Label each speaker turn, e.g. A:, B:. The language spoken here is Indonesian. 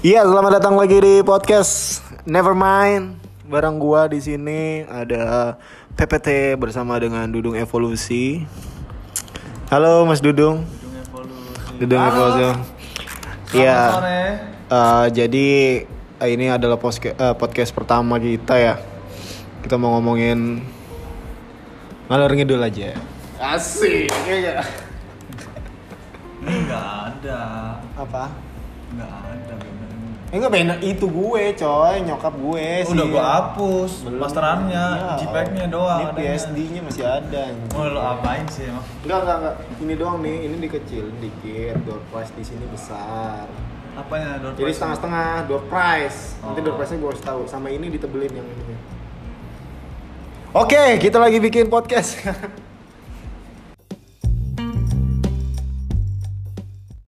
A: Iya, selamat datang lagi di podcast Nevermind. Bareng gua di sini ada PPT bersama dengan Dudung Evolusi. Halo Mas Dudung. Dudung Evolusi. Iya. eh, jadi eh, ini adalah poske- eh, podcast pertama kita ya. Kita mau ngomongin ngalor ngidul aja. ya. Asik.
B: Iya, Ini nggak ada,
A: Apa?
B: nggak ada bener.
A: Enggak benar itu gue, coy, nyokap gue Eh, sih.
B: Udah gua hapus,
A: Belum.
B: masterannya,
A: Iya.
B: JPEG-nya doang.
A: Ini
B: adanya.
A: PSD-nya masih ada.
B: Mau lo apain sih emang?
A: Enggak, enggak, enggak. Ini doang nih, ini dikecil dikit. Door prize di sini besar.
B: Apanya door
A: Jadi
B: prize?
A: setengah-setengah door prize. Nanti
B: Oh.
A: door prize-nya gue harus tahu. Sama ini ditebelin yang ini. Oke, kita lagi bikin podcast.